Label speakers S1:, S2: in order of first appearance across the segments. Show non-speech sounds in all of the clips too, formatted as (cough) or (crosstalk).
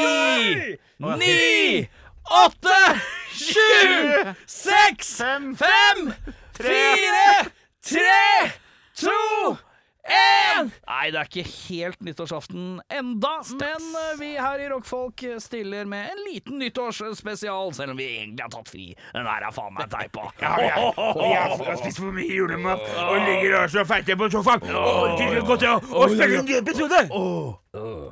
S1: ti,
S2: Oi!
S1: ni, åtte, sju, seks,
S2: Fem,
S1: fem, fire, tre, to, én! Nei, det er ikke helt nyttårsaften enda, men eh, vi her i Rockfolk stiller med en liten nyttårsspesial, selv om vi egentlig har tatt fri. Den her er faen meg deg på.
S2: Og jeg har spist for mye julemat og ligger og så feite på sofaen. Og orker ikke gå til å- å spille en ny episode!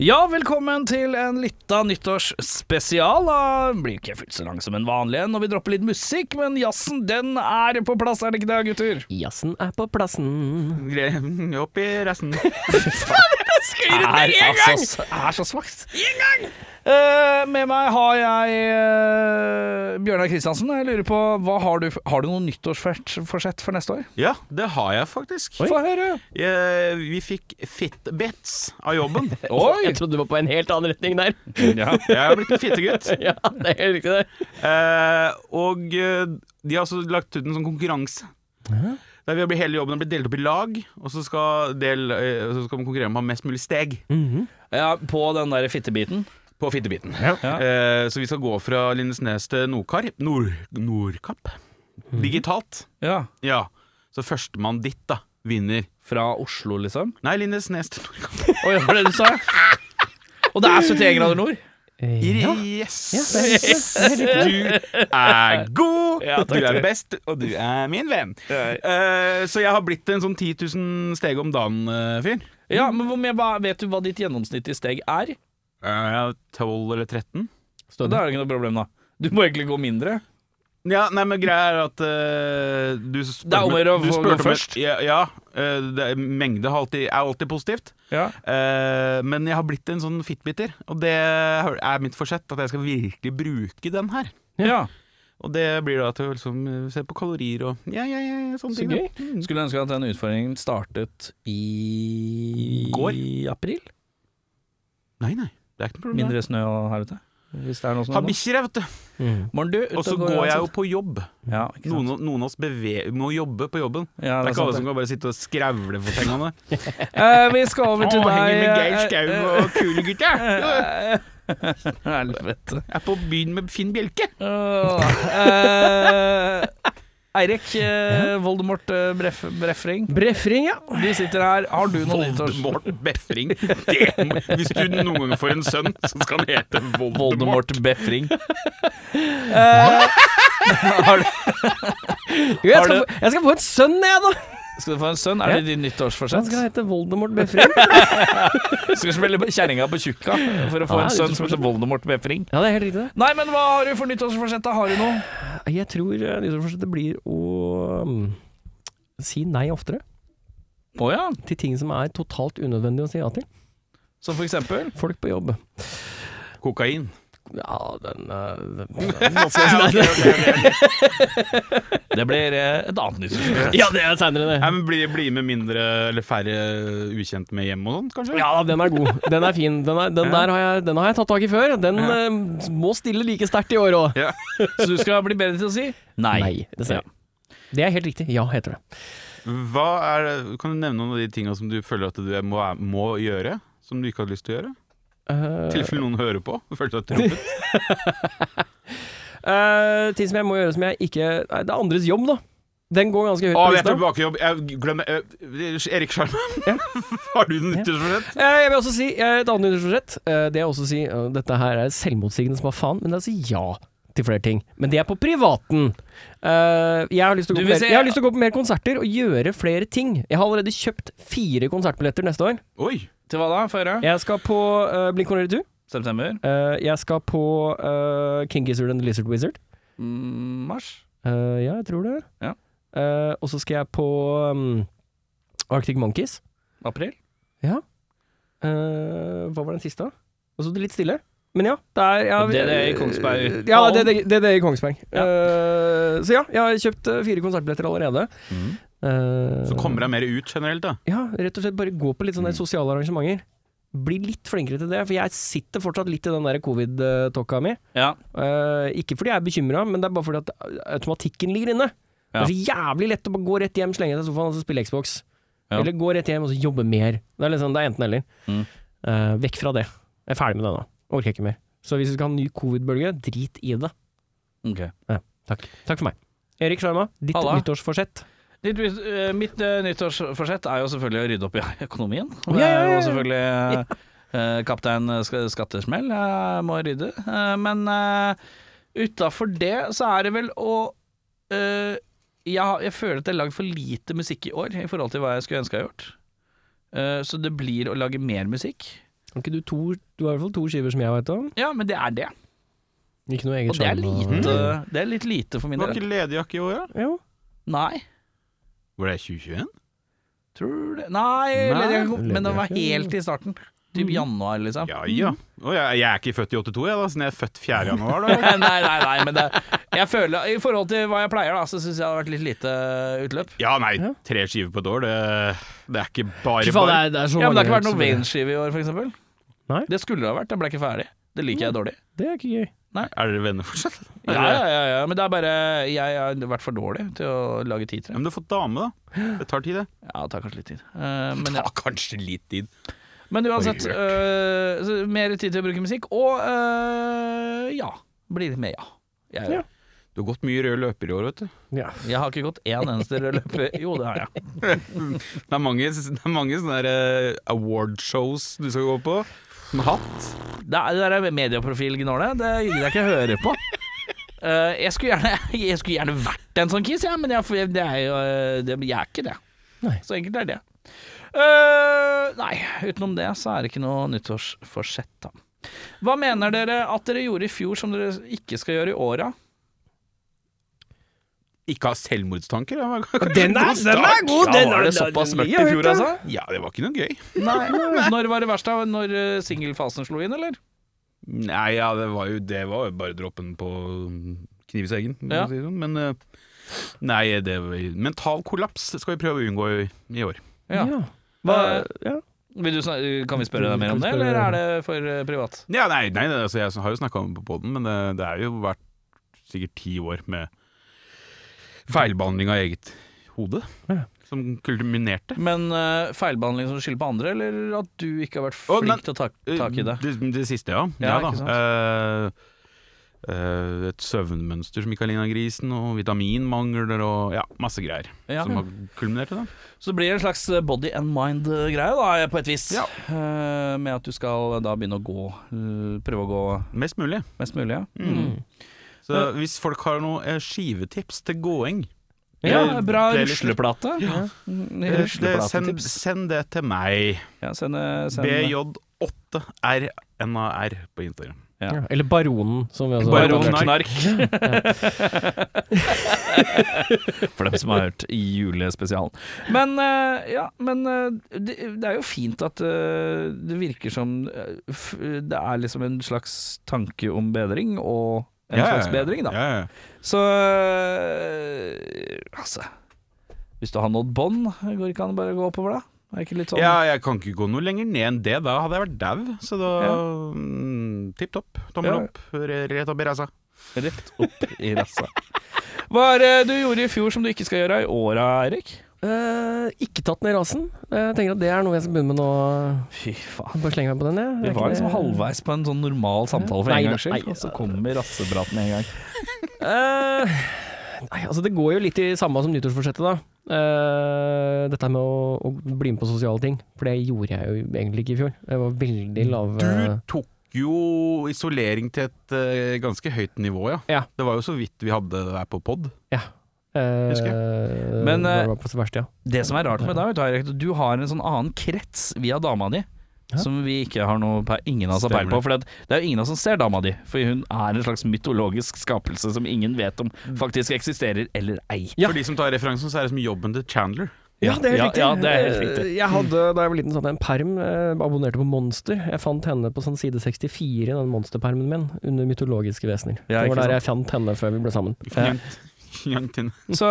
S1: Ja, velkommen til en lita nyttårsspesial. Da blir ikke fullt så lang som en vanlig en når vi dropper litt musikk, men jazzen den er på plass, er det ikke det, gutter?
S3: Jazzen er på plassen.
S2: Gre- Opp i (laughs) resten.
S1: Er, altså, er så svakt. Én gang! Eh, med meg har jeg eh, Bjørnar Kristiansen. Jeg lurer på, hva har du, f- har du noe nyttårsforsett for neste år?
S2: Ja, det har jeg faktisk.
S1: Få høre.
S2: Jeg, vi fikk Fitbits av jobben.
S1: Oi!
S3: Jeg trodde du var på en helt annen retning (laughs) der.
S1: Ja.
S2: Jeg har blitt en fittegutt.
S3: ja, det er helt riktig, det.
S2: Eh, og eh, de har også lagt ut en sånn konkurranse. Der vi har blitt hele jobben har blitt delt opp i lag, og så skal, del, eh, så skal man konkurrere om å ha mest mulig steg
S1: (laughs) Ja, på den der fittebiten.
S2: på fittebiten.
S1: Ja.
S2: Eh, så vi skal gå fra Lindesnes til Nordkar, Nord, Nordkapp. Digitalt.
S1: Ja.
S2: Ja. Så førstemann dit, da, vinner.
S1: Fra Oslo, liksom.
S2: Nei, Lindesnes til Nordkapp.
S1: Oi, det var det du sa? Og det er 71 grader nord.
S2: Yes! Du er god,
S1: Ja, takk,
S2: du er
S1: takk.
S2: best, og du er min venn. Eh, så jeg har blitt en sånn 10 000 steg om eh, dagen-fyr.
S1: Ja, men hvor mye- hva- Vet du hva ditt gjennomsnittlige steg er?
S2: Uh, 12 eller 13?
S1: Da er det ikke noe problem, da. Du må egentlig gå mindre.
S2: Ja, nei, men greia er at eh, du spurte
S1: Det er om å gjøre å
S2: du
S1: få
S2: spurte
S1: gå
S2: om-
S1: først.
S2: Ja, ja eh, det er, mengde har alltid, er alltid positivt.
S1: Ja.
S2: Eh, men jeg har blitt en sånn fitbiter, og det er mitt forsett. At jeg skal virkelig bruke den her.
S1: ja.
S2: Og det blir da til å liksom, eh, se på kalorier og ja, ja, ja, ja sånne
S3: Så
S2: ting. da.
S3: gøy.
S2: Mm.
S1: Skulle ønske at den utfordringen startet i
S2: Går.
S1: i april.
S2: Nei, nei, det er ikke noe problem.
S1: Mindre snø og her ute. Hvis det er noe
S2: Har
S1: sånt.
S2: bikkjer, jeg, vet du.
S3: Mm.
S1: Morgen, du. ute
S2: Og så går jeg jo på jobb.
S1: Ja, ikke sant?
S2: Noen, noen av oss beve må jobbe på jobben.
S1: Ja,
S2: Det er ikke alle
S1: sant,
S2: som kan bare sitte og skravle for pengene.
S1: det. Eh, vi skal (laughs) over til
S2: Å, henger med Geir
S1: deg
S2: Skau og kule gutter!
S1: (laughs) eh, Helvete.
S2: Jeg er på byen med Finn Bjelke.
S1: Åh, eh, Eirik eh, Voldemort eh, Bref Brefring,
S3: Brefring, ja.
S1: du sitter her. Har du noe nyttårs...
S2: Voldemort Befring. Det, må- hvis du noen gang får en sønn, så skal han hete Voldemort.
S1: (laughs) Befring. Eh. (laughs)
S3: Jo, jeg,
S1: Har
S3: skal
S1: du-
S3: få, jeg skal få en sønn, jeg, da.
S1: Skal du få en sønn? Er det ditt nyttårsforsett?
S3: Han skal hete Voldemort Befring.
S1: Skal spille kjerringa på tjukka eh, for å få
S3: Ja,
S1: en sønn
S3: nyttårsforsett.
S1: som heter Voldemort Befring.
S3: Ja, det er helt riktig, det.
S1: Nei, men hva har du for nyttårsforsett? da? Har du noe?
S3: Jeg tror eh, nyttårsforsettet blir å mm, si nei oftere
S1: Å ja.
S3: til ting som er totalt unødvendig å si ja til.
S1: Som for eksempel?
S3: Folk på jobb.
S2: Kokain.
S3: Ja, den, eh, den,
S1: Det blir eh, et annet (laughs) nyttårsforsett.
S3: (laughs) Ja, det er seinere,
S2: Nei,
S3: det.
S2: men bli, bli med mindre eller færre ukjente med hjem og sånn, kanskje?
S3: Ja, den er god. Den er fin. Den, er, den
S2: Ja.
S3: der har jeg, den har jeg tatt tak i før. Den
S2: Ja.
S3: eh, må stille like sterkt i år òg.
S2: Ja.
S1: Så du skal bli bedre til å si nei.
S3: Nei, det ser jeg. Det er helt riktig. Ja, heter det.
S2: Hva er, kan du nevne noen av de tinga som du føler at du må, må gjøre? Som du ikke hadde lyst til å gjøre? I
S3: Eh,
S2: tilfelle noen hører på. Føler
S3: (laughs)
S2: seg truffet.
S3: eh, ting som jeg må gjøre som jeg ikke Nei, Det er andres jobb, da. Den går ganske høyt
S2: Å,
S3: på
S2: jeg er
S3: lista.
S2: tilbake i jobb. Jeg glemmer eh, Erik Sjarmann, (laughs) har du nyttårsforsett?
S3: Eh, Jeg vil også si eh, et annet nyttårsforsett. Eh, Det er også å si eh, Dette her er selvmotsigende som hva faen, men det er å si ja til flere ting. Men det er på privaten. Eh, Jeg har lyst til
S1: Du
S3: å gå
S1: vil
S3: på mer,
S1: si-
S3: jeg har lyst til å gå på mer konserter og gjøre flere ting. Jeg har allerede kjøpt fire konsertbilletter neste år.
S2: Oi!
S1: Til hva da? Få høre.
S3: Jeg skal på eh, Blink-182.
S1: September?
S3: Eh, Jeg skal på eh, King Gizzard and the Lizard Wizard.
S1: Mm, mars?
S3: Eh, ja, jeg tror det.
S1: Ja.
S3: Eh, og så skal jeg på um, Arctic Monkeys.
S1: April?
S3: Eh, hva var den siste, da? Og så det litt stille. Men ja, det er ja, vi- Eh,
S1: DDE E i Kongsberg.
S3: Ja, E, det er DDE i Kongsberg. Eh, så ja, jeg har kjøpt eh, fire konsertbilletter allerede.
S1: Mm.
S3: Eh,
S2: Så kommer deg mer ut generelt, da.
S3: Ja, rett og slett bare gå på litt sånne
S2: Mm.
S3: sosiale arrangementer. Bli litt flinkere til det, for jeg sitter fortsatt litt i den der covid-tokka mi.
S1: Ja.
S3: Eh, ikke fordi jeg er bekymra, men det er bare fordi at automatikken ligger inne. Det
S1: Ja.
S3: er så jævlig lett å bare gå rett hjem, slenge seg i sofaen og så spille Xbox.
S2: Ja.
S3: Eller gå rett hjem og så jobbe mer. Det er, liksom, det er enten eller.
S1: Mm.
S3: Eh, vekk fra det. Jeg er ferdig med det nå. Orker ikke mer. Så hvis du skal ha en ny covid-bølge, drit i det.
S1: Ok.
S3: Takk. Takk for meg. Erik Sjarma, ditt
S1: Halla.
S3: nyttårsforsett?
S1: Ditt, eh, mitt eh, nyttårsforsett er jo selvfølgelig å rydde opp i (laughs) økonomien.
S3: Ja,
S1: Det
S3: ja,
S1: er
S3: ja,
S1: jo
S3: ja.
S1: selvfølgelig
S3: (laughs)
S1: eh, kaptein Sk- Skattesmell. Jeg må rydde. Eh, men uh, utafor det så er det vel å eh, jeg, har- jeg føler at jeg har lagd for lite musikk i år i forhold til hva jeg skulle ønske jeg hadde gjort. Eh, så det blir å lage mer musikk.
S3: Har ikke du to Du har i hvert fall to skiver som jeg vet om.
S1: Ja, men det er det.
S3: Ikke sånn,
S1: Og
S3: noe eget Mm.
S1: det er
S3: Sjarma-
S1: lite, det er litt lite for min
S2: Var
S1: del.
S2: ikke ledigjakke i år, da?
S3: Jo.
S1: Nei.
S2: Var det 2021?
S1: Tror det Nei,
S2: Nei,
S1: ledig- men det var helt i starten.
S3: Mm.
S1: Typ januar, liksom.
S2: Ja ja. Å, jeg, jeg er ikke født i 82, jeg, da, siden jeg er født 4.
S3: (laughs)
S2: januar. Da.
S1: (laughs) nei, nei, nei, men det, jeg føler I forhold til hva jeg pleier, da, så syns jeg det har vært litt lite utløp.
S2: Ja, nei,
S3: Ja.
S2: tre skiver på et år, det, det er ikke bare
S3: Fy faen, det
S2: bare.
S3: er, det er så
S1: Ja, men Det har
S3: mange
S1: ikke vært noen
S3: som-
S1: Vane-skive i år, f.eks.
S3: Nei.
S1: Det skulle det ha vært, den ble ikke ferdig. Det liker jeg dårlig.
S3: Det er ikke gøy.
S2: Er dere venner fortsatt?
S1: Ja, ja, ja, ja, Men det er bare Jeg har vært for dårlig til å lage tid til
S2: Ja,
S1: det.
S2: men du har fått dame, da. Det tar tid, det.
S1: Ja, det tar kanskje litt tid. Eh, men, ja.
S2: Ja, kanskje litt tid.
S1: men uansett,
S2: Oi,
S1: eh, så mer tid til å bruke musikk. Og eh, ja. Bli litt med, ja. Jeg,
S3: Ja.
S2: Du har gått mye rød løper i år, vet du.
S3: Ja.
S1: jeg har ikke gått én eneste rød løper Jo, det har jeg.
S2: Det er mange, det er mange sånne der, eh, award-shows du skal gå på. Med hatt.
S1: Det, er, det der er medieprofilgnålet. Det gidder jeg ikke å høre (laughs) på. Eh, jeg, skulle gjerne, (laughs) jeg skulle gjerne vært en sånn kiss, ja, men jeg, det er jo, eh, det, jeg er ikke det.
S3: Nei.
S1: Så enkelt er det. Eh, nei, utenom det så er det ikke noe nyttårsforsett, da. Hva mener dere at dere gjorde i fjor som dere ikke skal gjøre i åra?
S2: Ikke ha selvmordstanker. det var-
S3: Den er, den er god!
S1: Ja,
S3: Den
S1: var
S3: er-
S1: det
S3: den-
S1: såpass
S3: den-
S1: mørkt
S3: jeg
S1: i
S3: vet
S1: fjor,
S3: det. (laughs)
S1: altså?
S2: Ja, det var ikke noe gøy.
S1: Nei. Når var det verst, da? Når eh, singelfasen slo inn, eller?
S2: Nei, ja, det var jo, det var jo bare droppen på knivseggen, for
S1: Ja.
S2: å si det sånn. Men eh, nei, det var, mental kollaps skal vi prøve å unngå i, i år.
S1: Ja.
S3: Ja. Hva, ja.
S1: Vil du, snak- kan vi spørre deg mer om det, eller er det for eh, privat?
S2: Ja, nei, nei, nei altså, jeg har jo snakka om det på poden, men det, det er jo vært sikkert ti år med feilbehandling av eget hode.
S3: Ja.
S2: Som kulminerte.
S1: Men eh, feilbehandling som skyld på andre, eller at du ikke har vært
S2: Å,
S1: flink
S2: men-
S1: til å ta tak i det?
S2: Eh, Det, det siste, ja.
S1: Ja,
S2: da.
S1: ikke sant?
S2: Eh, eh, et søvnmønster som ikke er lignet grisen, og vitaminmangler og ja, masse greier.
S1: Ja.
S2: Som har kulminert i det.
S1: Så det blir en slags eh, body and mind-greie, da, på et vis.
S2: Ja.
S1: Eh, med at du skal da begynne å gå, eh, prøve å gå
S2: Mest mulig.
S1: mest mulig. Ja.
S3: Mm.
S2: Så hvis folk har noen eh, skivetips til gåing
S1: Ja,
S2: eh,
S1: bra
S2: playlister,
S1: rusleplate.
S2: Ja.
S1: Mm,
S2: eh, det- Send,
S1: Rusleplatetips.
S2: send det til meg.
S1: Ja, send, eh, send-
S2: BJ8RNAR på Instagram.
S1: Ja.
S3: Ja. Eller Baronen, som vi også
S1: Baron
S2: Baron
S1: Knark. (laughs) For dem som har hørt julespesialen. Men eh, ja, men eh, det, det er jo fint at eh, det virker som eh, f- det er liksom en slags tanke om bedring, og en slags bedring, da.
S2: Ja, ja.
S1: Så eh, altså Hvis du har nådd bånd, går ikke an å bare gå oppover, da? Er ikke litt sånn
S2: ja, jeg kan ikke gå noe lenger ned enn det. Da hadde jeg vært dau. Så da
S1: Ja.
S2: mm, Tipp topp. Tommel
S1: Ja.
S2: opp. Re- altså. Rett opp i ræsa.
S1: rett opp i rassa? Hva er det du gjorde i fjor som du ikke skal gjøre i åra, Eirik?
S3: Eh, ikke tatt ned rasen. Eh, Jeg tenker at det er noe jeg skal begynne med nå.
S1: Fy faen.
S3: Bare slenge meg på den, jeg. Er
S1: Vi
S3: ikke
S1: var liksom
S3: det-
S1: halvveis på en sånn normal samtale for
S3: Nei
S1: en
S3: da,
S1: gangs
S3: nei
S1: skyld,
S3: da.
S1: og så kommer rassepraten med en gang.
S3: Eh, nei, altså det går jo litt i samme som nyttårsforsettet, da. Eh, dette med å, å bli med på sosiale ting. For det gjorde jeg jo egentlig ikke i fjor. Jeg var veldig lav eh,
S2: Du tok jo isolering til et eh, ganske høyt nivå, ja.
S3: Ja.
S2: Det var jo så vidt vi hadde det der på pod. husker
S3: eh,
S1: Men, eh,
S3: det var på sitt verste, ja.
S1: Det som er rart med deg, vet du, Eirik, at du har en sånn annen krets via dama di.
S3: Ja.
S1: Som vi ikke har noe pe- ingen av oss har peil
S2: Stemmer
S1: på. For det er jo ingen av oss som ser dama di. For hun er en slags mytologisk Mm. skapelse som ingen vet om faktisk eksisterer eller ei.
S2: For de som tar referansen, så er det som jobben til Chandler.
S3: Ja, det er helt riktig.
S1: Ja, det er helt riktig.
S3: Eh, Jeg hadde da jeg var liten sånn en perm, eh, abonnerte på Monster. Jeg fant henne på sånn side 64 i den monsterpermen min, under mytologiske vesener.
S1: Ja,
S3: det
S1: ikke
S3: var der jeg fant henne før vi ble sammen. Eh,
S2: Jentene.
S1: Så,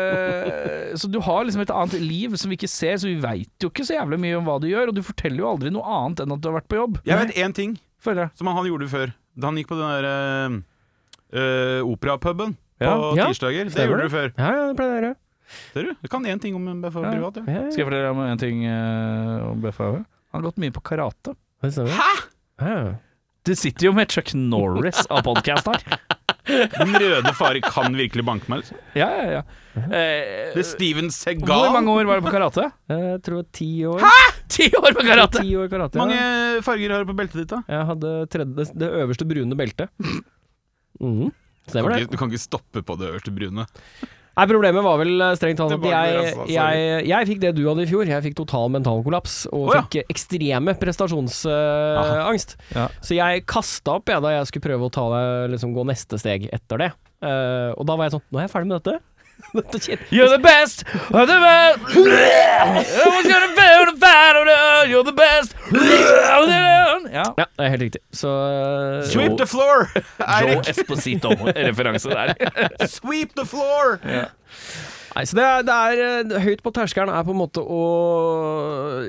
S1: eh, så du har liksom et annet liv som vi ikke ser, så vi veit jo ikke så jævlig mye om hva du gjør, og du forteller jo aldri noe annet enn at du har vært på jobb.
S2: Jeg vet én ting
S1: Føler jeg.
S2: som han gjorde før. Da han gikk på den der uh, operapuben på
S1: Ja.
S3: Ja.
S2: tirsdager. Det
S3: Stemmer
S2: gjorde du før.
S3: Ja, ja, det pleier jeg å gjøre.
S2: Ser du? Du kan én ting om en BFA
S1: Ja.
S2: privat, ja.
S3: Ja, ja,
S1: Skal jeg fortelle deg om en ting eh, om BFAV? Han har gått mye på karate.
S3: det stemmer. Ja, ja.
S1: Du sitter jo med Chuck Norris av podkast (laughs) her.
S2: Den røde fare kan virkelig banke meg. Liksom.
S1: Ja, ja, ja. Eh,
S2: Det er Steven Segal.
S1: hvor mange år var du på karate?
S3: Jeg tror ti år.
S1: (laughs) Ti år på karate!
S3: Ti år karate. ja.
S2: mange farger har du på beltet ditt, da?
S3: Jeg hadde tredje, det øverste brune
S1: (laughs)
S3: beltet. Mm.
S2: Du
S3: Stemmer
S2: kan,
S3: det.
S2: ikke, du kan ikke stoppe på det øverste brune.
S3: Nei, problemet var vel eh, strengt talt
S2: Det
S3: at
S2: var
S3: jeg,
S2: det, altså, sorry.
S3: jeg, jeg fikk det du hadde i fjor. Jeg fikk total mental kollaps og
S2: Å, ja.
S3: fikk eh, ekstreme prestasjonsangst.
S1: Ja.
S3: Så jeg kasta opp jeg, da jeg skulle prøve å ta, det- liksom, gå neste steg etter det. Eh, og da var jeg sånn Nå er jeg ferdig med dette. (laughs) Dette kjen-
S1: You're the best of the best. Everyone's gonna feel the fight of the- You're the best of the- Ja.
S3: ja, det er helt riktig. Så eh,
S2: Sweep the floor!
S1: Joe
S2: Eirik,
S1: Esposito-referanse der. (laughs)
S2: sweep the floor!
S3: Nei, så det er, det er eh, høyt på terskelen er på en måte å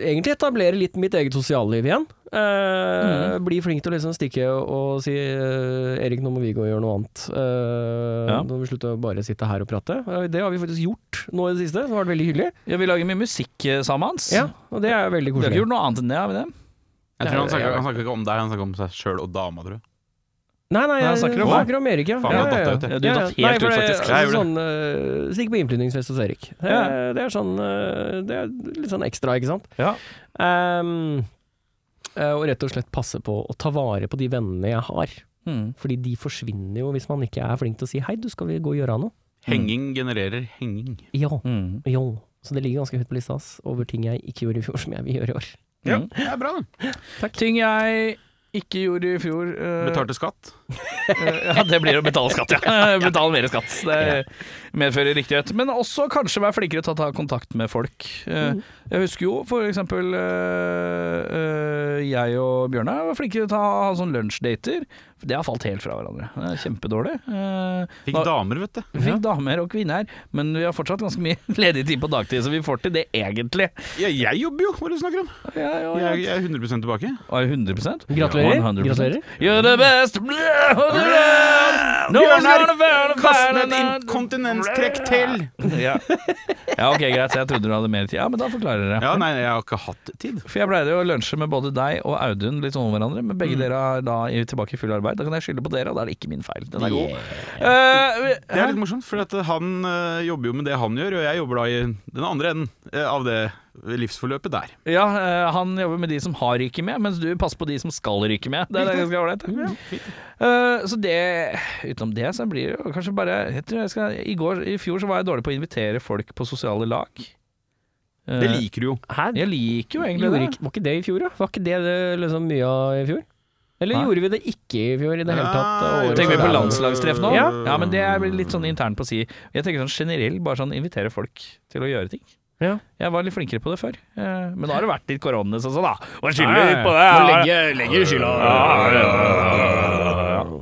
S3: egentlig etablere litt mitt eget sosialliv igjen. Eh, Bli flink til å liksom stikke og si eh, 'Erik, nå må vi gå og gjøre noe annet'. Eh,
S1: Ja.
S3: Nå må vi slutte å bare sitte her og prate. Eh, Det har vi faktisk gjort nå i det siste, så det har vært veldig hyggelig.
S1: Ja, vi lager mye musikk eh, sammen hans.
S3: Ja, og det er
S1: Vi
S3: veldig
S1: har ikke
S3: koselig.
S1: gjort noe annet enn det, har vi det?
S2: Jeg tror han snakker, han snakker ikke om deg, han snakker om seg sjøl og dama, tror jeg.
S3: Nei, nei,
S1: Nei,
S3: jeg
S1: han snakker
S3: snakker
S1: om
S3: om,
S1: meg.
S3: Erik, ja.
S2: Faen,
S3: ja,
S2: jeg
S3: ja,
S2: datt ut,
S1: ja.
S3: ja.
S1: Du datt
S3: ja.
S1: helt
S3: Nei, for
S1: ut,
S3: det-
S1: faktisk.
S2: Jeg
S3: Altså,
S2: gjorde
S3: sånn, eh, Stikk på innflytningsfest hos Erik. Eh,
S1: Ja.
S3: Det er sånn eh, Det er litt sånn ekstra, ikke sant?
S1: Ja.
S3: Ehm, eh, og rett og slett passe på å ta vare på de vennene jeg har.
S1: Mm.
S3: Fordi de forsvinner jo hvis man ikke er flink til å si 'hei, du skal vi gå og gjøre noe'?
S2: Henging genererer henging.
S3: Ja.
S1: Mm.
S3: ja. Så det ligger ganske høyt på lista ass, over ting jeg ikke gjorde i fjor som jeg vil gjøre i år.
S2: Ja,
S1: Mm.
S2: det er bra, det.
S1: Ting jeg ikke gjorde i fjor eh,
S2: Betalte skatt.
S1: eh, (laughs) Ja, det blir å betale skatt, (laughs) ja. Betale mer skatt. Det medfører riktighet. Men også kanskje være flinkere til å ta kontakt med folk. Eh, Jeg husker jo for eksempel eh, eh, jeg og Bjørnar var flinke til å ta ha sånn lunsjdater. Det har falt helt fra hverandre. Det er kjempedårlig. Eh,
S2: Fikk
S1: da-
S2: damer, vet du.
S1: Vi fikk damer og kvinner, men vi har fortsatt ganske mye (laughs) ledig tid på dagtid, så vi får til det egentlig.
S2: Jeg, jeg jobber jo, hva er det du snakker om?
S1: Ja, ja, ja.
S2: Jeg, jeg er 100 tilbake.
S1: Og 100
S3: Gratulerer.
S1: 100%.
S3: Gratulerer.
S1: You're the best No one's
S2: Bjørnar,
S1: gonna find a
S2: Kast ned et
S1: find a-
S2: inkontinenstrekk til!
S1: ja. ja, ok, greit. Jeg trodde du hadde mer tid. Ja, men da forklarer jeg.
S2: Ja, nei, jeg har ikke hatt tid.
S1: For jeg pleide jo å lunsje med både deg og Audun litt om hverandre, men
S2: Mm.
S1: begge dere er da i- tilbake i full arbeid. Da kan jeg skylde på dere, og da er det ikke min feil. Den er god. Eh, vi-
S2: Det er litt morsomt, for at han øh, jobber jo med det han gjør, og jeg jobber da i den andre enden øh, av det livsforløpet der.
S1: Ja, eh, han jobber med de som har ryket med, mens du passer på de som skal ryke med. Det er ganske ålreit. Eh, så det Utenom det, så blir det jo kanskje bare jeg tror jeg skal, i, går, I fjor så var jeg dårlig på å invitere folk på sosiale lag. Eh,
S2: Det liker du jo.
S3: Hæ?
S1: jeg liker jo egentlig
S3: Gjorde
S1: det.
S3: ikke, var ikke det i fjor, da? Var ikke det, det liksom mye av i fjor? Eller
S1: Nei.
S3: gjorde vi det ikke i fjor i det hele tatt? eh,
S2: Ja,
S3: Året
S1: Tenker vi
S3: før
S1: på
S3: der.
S1: landslagstreff nå?
S3: Ja.
S1: Ja, men det er litt sånn internt på å si. Jeg tenker sånn generell, bare sånn invitere folk til å gjøre ting.
S3: Ja.
S1: Jeg var litt flinkere på det før, eh, men da har det vært litt koronas og sånn, da. Hva
S3: Nei,
S1: skylder vi på det?
S3: må
S1: Ja,
S3: legge- legge skylda-
S1: Ja, ja, ja, ja.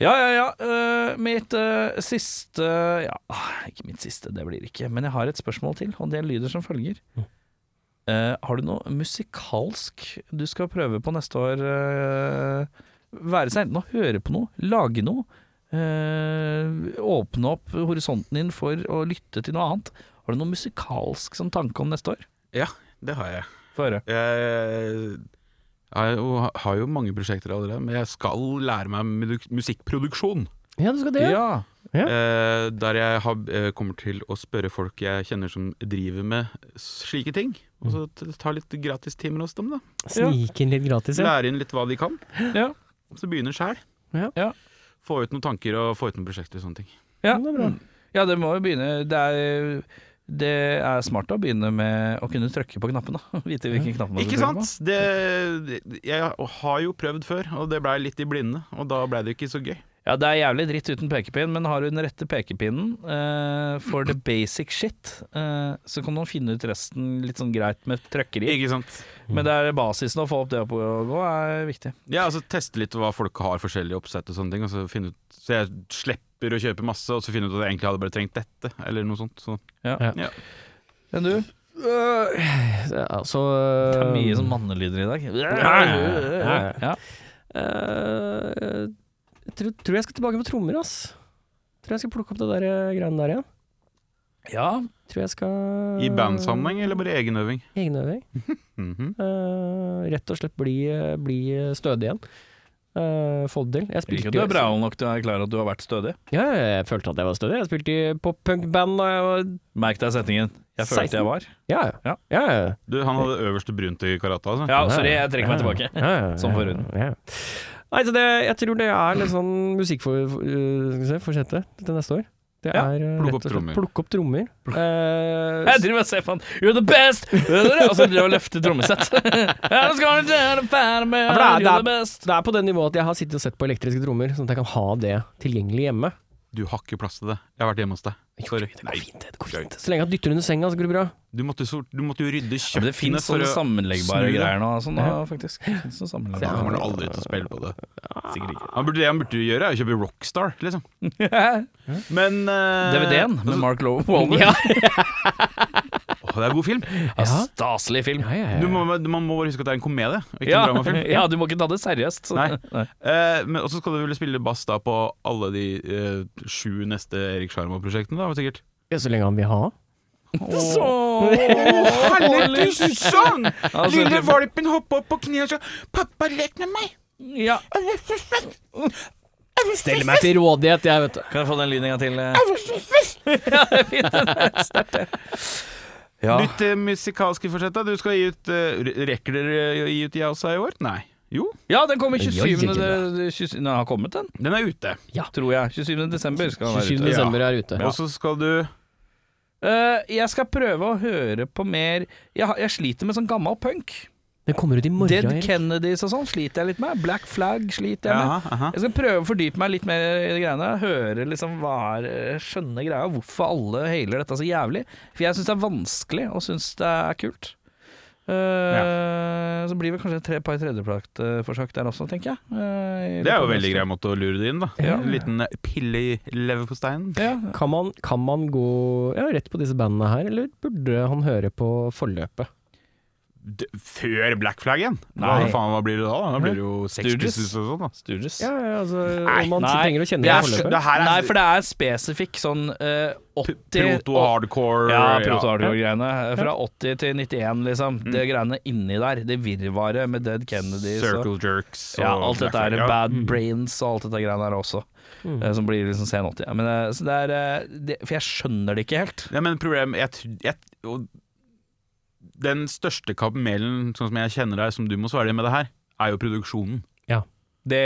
S1: Ja, ja, ja. Eh, mitt eh, siste Ja, ah, ikke mitt siste, det blir det ikke. Men jeg har et spørsmål til, og det lyder som følger. Eh, har du noe musikalsk du skal prøve på neste år? eh, være seg enten å høre på noe, lage noe, eh, åpne opp horisonten din for å lytte til noe annet. Har du noe musikalsk som tanke om neste år?
S2: Ja, det har jeg.
S1: Få høre.
S2: Jeg jeg jo- har jo mange prosjekter allerede, men jeg skal lære meg mudu- musikkproduksjon.
S3: Ja, du skal det? Ja. Ja.
S2: Eh, Der jeg har, eh, kommer til å spørre folk jeg kjenner som driver med slike ting. Og så t- ta litt gratistimer hos dem, da.
S3: Snike inn litt gratis, ja.
S2: Lære inn litt hva de kan.
S1: Ja.
S2: Så begynne sjæl.
S3: Ja.
S1: Ja.
S2: Få ut noen tanker og få ut noen prosjekter og sånne ting.
S1: Ja.
S3: Det er bra.
S1: Ja, det må jo begynne Det er, det er smart å begynne med å kunne trykke på knappene. (laughs) Vite hvilken knapp man skal
S2: Ikke
S1: trykke
S2: sant? Det, jeg har jo prøvd før, og det blei litt i blinde. Og da blei det ikke så gøy.
S1: på. Ja, det er jævlig dritt uten pekepinn, men har du den rette pekepinnen eh, for the basic shit, eh, så kan man finne ut resten litt sånn greit med trøkkeri.
S2: Ikke sant?
S1: Men det er basisen å få opp det opp og gå er viktig.
S2: Ja, altså teste litt hva folk har forskjellige oppsett og sånne ting. Og så, finne ut, så jeg slipper å kjøpe masse, og så finne ut at jeg egentlig hadde bare trengt dette, eller noe sånt. Så.
S1: Ja.
S2: Ja.
S1: Enn du?
S3: Øh, altså
S1: Det er mye sånn mannelyder i dag. Ja.
S3: øh, jeg tror, tror jeg skal tilbake på trommer, ass. Tror jeg skal plukke opp det der eh, greiene der igjen.
S1: ja.
S3: Tror jeg skal
S2: I bandsammenheng eller bare egenøving?
S3: Egenøving.
S2: Mhm.
S3: Eh, rett og slett bli, eh, bli stødig igjen. Eh, få det til. Jeg
S1: Ikke
S3: spilte
S1: at du
S3: jo-
S1: er bra nok til å erklære at du har vært stødig.
S3: Ja, jeg følte at jeg var stødig. Jeg spilte i poppunkband da jeg var
S1: Merk deg setningen. Jeg følte
S3: 16.
S1: jeg var.
S3: Ja,
S1: Ja.
S3: ja. ja, ja.
S2: Du, han hadde øverste brunt i karate, altså.
S1: Ja, sorry, jeg trekker meg tilbake.
S3: Sånn Ja, ja, ja,
S1: Som forhuden.
S3: Ja. Nei, så det, jeg tror det er litt sånn eh, musikkforsettet til neste år. Det
S1: Ja,
S3: er eh,
S2: plukke
S3: rett
S2: opp
S3: og slett
S2: trommer.
S3: Plukke opp trommer. Eh,
S1: Jeg driver og ser på han You're the best! Og så driver jeg og løfter trommesett. Ja, nå skal du gjøre det ferdig med,
S3: Ja, for det er- det
S1: You're
S3: er-
S1: the best.
S3: det er på det nivået at jeg har sittet og sett på elektriske trommer, sånn at jeg kan ha det tilgjengelig hjemme.
S2: Du har ikke plass til det. Jeg har vært hjemme hos deg.
S3: Jo,
S2: Sorry.
S3: det
S2: Nei.
S3: går fint, det går fint. Så lenge jeg dytter under senga, så går det bra.
S2: Du måtte, sort, du måtte jo rydde
S1: Ja, men
S2: kjøkkenet
S1: det fins sånne
S2: snu
S1: sammenleggbare
S2: det.
S1: greier nå, sånn, da, faktisk. Det finnes noen
S2: Ja, Han
S1: sammenleggbare.
S2: kommer aldri til å spille på det.
S1: Sikkert ikke.
S2: Han burde, det han burde gjøre, er å kjøpe Rockstar, liksom. Men eh,
S1: DVD-en med Mark Lowe Wahlberg.
S3: Ja.
S2: Å, det er en god film.
S1: Ja, Staselig film.
S3: Ja, ja, ja.
S2: Du må, man må bare huske at det er en komedie, og ikke
S1: Ja,
S2: en dramafilm.
S1: ja, du må ikke ta det seriøst. så-
S2: Nei. Eh, men også skal du vel spille bass da på alle de eh, sju neste Erik Sjarma-prosjektene, da, sikkert.
S3: Ja, så lenge han vil ha.
S1: (laughs)
S2: Sånn!
S1: Altså, Lille det-
S2: valpen hoppa opp på kne og sa 'Pappa, lek med meg'.
S1: Ja.
S3: Stell meg til rådighet, jeg, vet du.
S1: Kan jeg få den lyden en gang til? eh? Ja, det er fint. Det er sterkt, det. Ja.
S2: Ditt eh, musikalske forsett, da. Du skal gi ut eh, re- Rekker dere å gi ut Yauza i år? Nei. Jo,
S1: ja, den kommer
S3: Oi,
S1: 27.
S3: oi, oi.
S1: de- 27 Nei, har kommet den,
S2: den er ute.
S1: tror jeg. 27. desember skal den være
S3: 27.
S1: ute.
S3: desember er ute.
S2: Og så skal du
S1: Eh, jeg skal prøve å høre på mer Jeg, har- jeg sliter med sånn gammel punk.
S3: Den kommer ut i morgen.
S1: Dead
S3: Erik.
S1: Kennedys og sånn sliter jeg litt med. Black Flag sliter jeg med.
S2: Jaha, aha.
S1: Jeg skal prøve å fordype meg litt mer i de greiene. Høre liksom hva er skjønne greia, hvorfor alle hailer dette så jævlig. For jeg syns det er vanskelig, og syns det er kult. Eh, Så blir det kanskje et tre, par tredjeplaktforsøk der også, tenker jeg. Eh, i
S2: Det er jo
S1: løpet av
S2: veldig
S1: neste-
S2: grei måte å lure det inn, da.
S1: Ja.
S2: En liten eh, pille i leverposteien.
S1: Ja.
S3: Kan man, kan man gå ja, rett på disse bandene her, eller burde han høre på forløpet?
S2: D- Før Black Flag igjen?
S1: Nei.
S2: Hva faen, hva blir det da? da? Da blir det jo
S1: Sturgis.
S2: 60 og sånn, da.
S1: Stooges.
S3: Ja, ja, altså,
S2: Nei,
S3: om man
S1: nei,
S3: trenger å kjenne
S2: Det
S3: igjen
S2: er,
S3: forløpet.
S2: det her er
S1: Nei, for det er spesifikk sånn eh, 80
S2: proto-hardcore
S1: Ja, proto-hardcore-greiene. Fra 80 til 91, liksom. Det greiene inni der, det virvaret med Dead Kennedys og-
S2: Circle jerks
S1: Ja, alt dette er
S2: ja.
S1: bad brains og alt dette greiene her også,
S3: Mm.
S1: eh, som blir liksom sen 80. Men, eh, så det er, eh, det, for jeg skjønner det ikke helt.
S2: Ja, men problemet jeg, tr- jeg, og Den største kamelen, sånn som jeg kjenner deg, som du må svare med det her, er jo produksjonen.
S1: Det,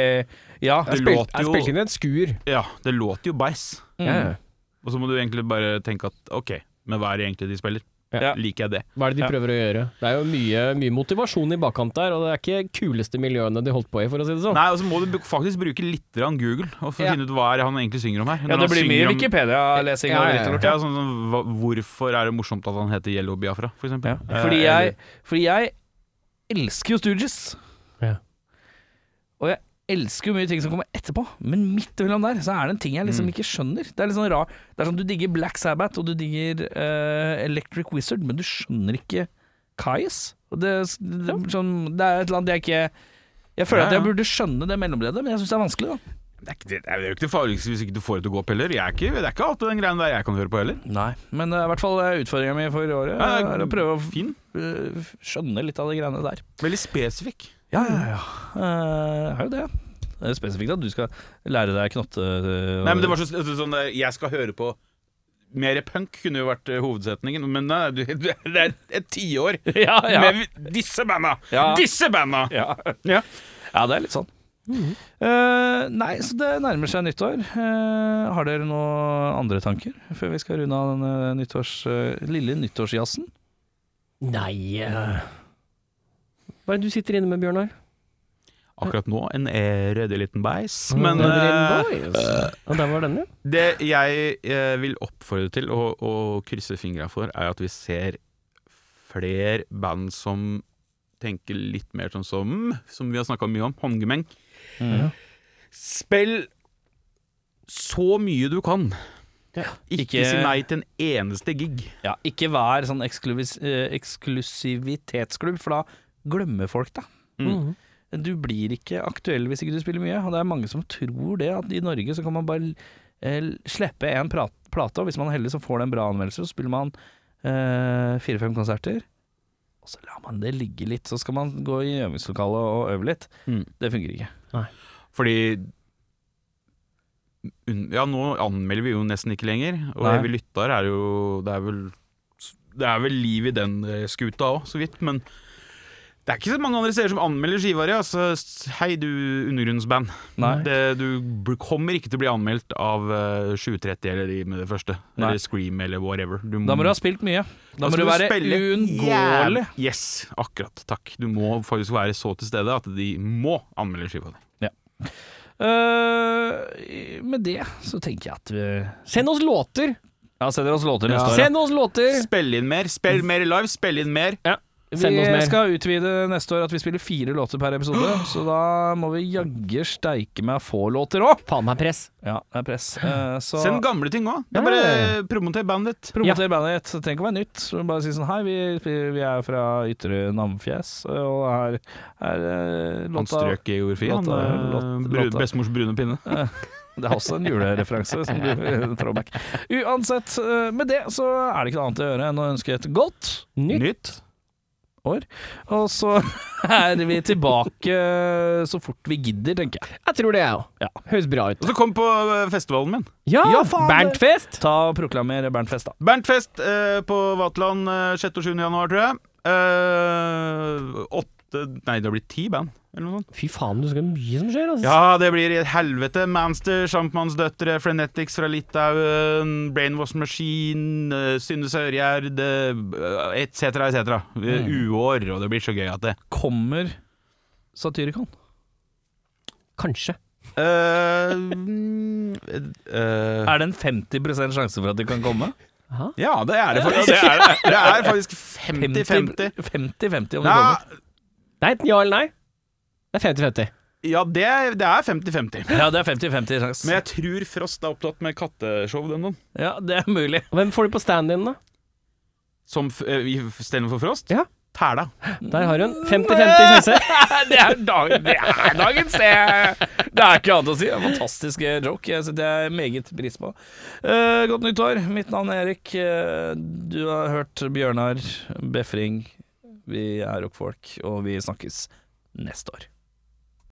S1: ja,
S2: Det
S3: Jeg spil-
S2: låter jo-
S3: Jeg spilte inn i et skur. Mm.
S2: Ja, det låter jo bæsj.
S1: Mm.
S3: Ja, ja.
S2: Og så må du egentlig bare tenke at OK, men hva er det egentlig de spiller?
S3: Ja.
S2: Liker jeg det?
S3: Hva er det de
S1: Ja.
S3: prøver å gjøre? Det er jo mye, mye motivasjon i bakkant der, og det er ikke kuleste miljøene de holdt på i, for å si
S1: (laughs)
S3: det sånn.
S2: Nei, og så må du bu- faktisk bruke litt grann Google og for å
S3: Ja.
S2: finne ut hva er det han egentlig synger om her.
S1: ja,
S2: Når
S1: det
S2: han
S1: blir
S2: synger
S1: mye
S2: om-
S1: Wikipedia-lesing. og
S3: Ja, ja,
S1: litt og lort.
S2: Ja, sånn, som hva- hvorfor er det morsomt at han heter Yellow Biafra, for eksempel? Eh,
S1: Fordi,
S2: eller-
S1: jeg, fordi jeg elsker jo Stooges.
S3: Ja.
S1: Og jeg elsker jo mye ting som kommer etterpå, men midt imellom der så er det en ting jeg
S2: Mm.
S1: liksom ikke skjønner. Det er litt sånn rar Det er sånn du digger Black Sabbath og du digger eh, Electric Wizard, men du skjønner ikke Kais. Og det, det, sånn, det er et eller annet jeg ikke Jeg føler
S2: Ja,
S1: at jeg
S2: ja.
S1: burde skjønne det mellomleddet, men jeg syns det er vanskelig, da.
S2: det, er ikke, det er jo ikke det farligste hvis ikke du får det til å gå opp heller. Jeg er ikke, det er ikke alltid den greien der jeg kan høre på heller.
S1: Nei. Men eh, i hvert fall utfordringa mi for i året
S2: Ja,
S1: er å prøve å f-
S2: Fin.
S1: eh, skjønne litt av de greiene der.
S2: Veldig spesifikk.
S1: Ja, ja, ja. Eh, er jo det. Det er spesifikt at du skal lære deg knotte... eh,
S2: Nei, men det var så, altså, sånn eh, Jeg skal høre på mer punk kunne jo vært eh, hovedsetningen, men nei, du, (laughs) du, det er et tiår
S1: (laughs) ja, ja.
S2: med disse banda! (laughs)
S1: Ja.
S2: Disse banda!
S1: ja.
S2: Ja. Mhm.
S1: ja, det er litt sånn. Eh, nei, så det nærmer seg nyttår. Eh, har dere noen andre tanker før vi skal runde av denne nyttårs, eh, lille nyttårsjazzen?
S3: Nei eh. Hva er det du sitter inne med, Bjørnar?
S2: akkurat nå en eh, røde liten beis.
S1: Mm.
S2: Men
S3: Red
S2: eh,
S3: Little Boys. Ja, der var den, ja.
S2: det jeg eh, vil oppfordre til å, å krysse fingra for, er at vi ser flere band som tenker litt mer sånn som Som vi har snakka mye om, håndgemeng. Mhm.
S1: Mm.
S2: Spill så mye du kan. Ikke,
S1: Ikke-
S2: si nei til en eneste gig.
S1: Ja, ikke vær sånn ekskluvis- eh, eksklusivitetsklubb, for da glemmer folk deg.
S3: Mhm.
S1: Du blir ikke aktuell hvis ikke du spiller mye, og det er mange som tror det, at i Norge så kan man bare eh, slippe en prat, plate, og hvis man er heldig så får det en bra anmeldelse, så spiller man eh, fire-fem konserter, og så lar man det ligge litt, så skal man gå i øvingslokalet og øve litt.
S2: Mm.
S1: Det fungerer ikke.
S2: Fordi un- Ja, nå anmelder vi jo nesten ikke lenger, og
S1: Nei.
S2: det vi lytter er jo Det er vel, det er vel liv i den eh, skuta òg, så vidt, men det er ikke så mange andre steder som anmelder skivarer. Altså, s- hei du undergrunnsband.
S1: Nei.
S2: Det, du bl- kommer ikke til å bli anmeldt av eh, 730 eller de med det første.
S1: Nei.
S2: Eller Scream eller whatever. Du
S1: Da må du ha spilt mye.
S2: skal
S1: Da må du være
S2: spille
S1: uunngåelig.
S2: jæv- Yes, akkurat. Takk. Du må faktisk være så til stede at de må anmelde skiva di.
S1: Eh, med det så tenker jeg at vi
S3: Send oss låter!
S1: Ja, sender oss låter
S2: neste år,
S1: Send,
S3: Send oss låter!
S2: Spille inn mer, spill mer live, spille inn mer.
S3: Send oss mer.
S1: vi skal utvide neste år at vi spiller fire låter per episode, (gasps) så da må vi jagge steike meg få låter òg.
S3: Faen meg press.
S1: Ja, det er press. (gasps) Eh, så
S2: Send gamle ting òg. Det er
S3: Ja, ja,
S2: bare promoter bandet.
S1: promoter bandet ditt. Det trenger ikke å være nytt. Så Bare si sånn Hei, vi, vi er fra Ytre Namfjes, og her er eh,
S2: Han
S1: låta
S2: strøk i geografi, han.
S1: låta-
S2: eh,
S1: låta-
S2: bru-
S1: låta.
S2: Bestemors brune pinne.
S1: (laughs) Det er også en julereferanse som (laughs) blir en throwback. Uansett, eh, med det så er det ikke noe annet å gjøre enn å ønske et godt
S3: Nytt.
S2: Nytt.
S1: Og så (laughs) er vi tilbake så fort vi gidder, tenker jeg.
S3: Jeg tror det, jeg òg.
S1: Ja.
S3: Høres bra ut.
S2: Og så kom på eh, festivalen min.
S3: Ja!
S1: Ja, faen, det-
S3: Berntfest!
S1: Ta og proklamer Berntfest, da.
S2: Berntfest eh, på Vaterland eh, 6. og 7. januar, tror jeg. Eh, åtte Nei, det blir ti band, eller noe sånt.
S3: Fy faen, du skal mye som skjer, altså.
S2: Ja, det blir et helvete. Manster, Sjampmannsdøtre, Frenetics fra Litauen, Brainwash Machine, eh, Synne Sørgjerd, etc., etc. Uår, og det blir så gøy at det
S1: Kommer Satyricon?
S3: Kanskje.
S2: Eh, mm, eh,
S1: Er det en 50 sjanse for at de kan komme?
S2: Ja, det er det faktisk. Det er, (laughs) det er faktisk 50-50.
S1: 50-50 om de
S2: Ja,
S1: kommer.
S3: Det er enten ja eller nei. Det er 50-50.
S2: ja det, er- det er 50-50.
S1: Ja, det er 50-50 sjanse.
S2: Men jeg tror Frost er opptatt med katteshow den dagen.
S1: Ja, det er mulig. (laughs)
S3: Hvem får du på stand-in, da?
S2: Som f- eh, i stedet for Frost?
S3: Ja.
S2: Tæla.
S3: Der har hun 50-50 sjanse.
S1: det, er dag, det er dagens det. Det er ikke annet å si. Det er en fantastisk eh, joke. Jeg setter jeg meget pris på. Eh, godt nytt år. Mitt navn er Erik. Eh, du har hørt Bjørnar Befring. Vi er rockfolk, og vi snakkes neste år.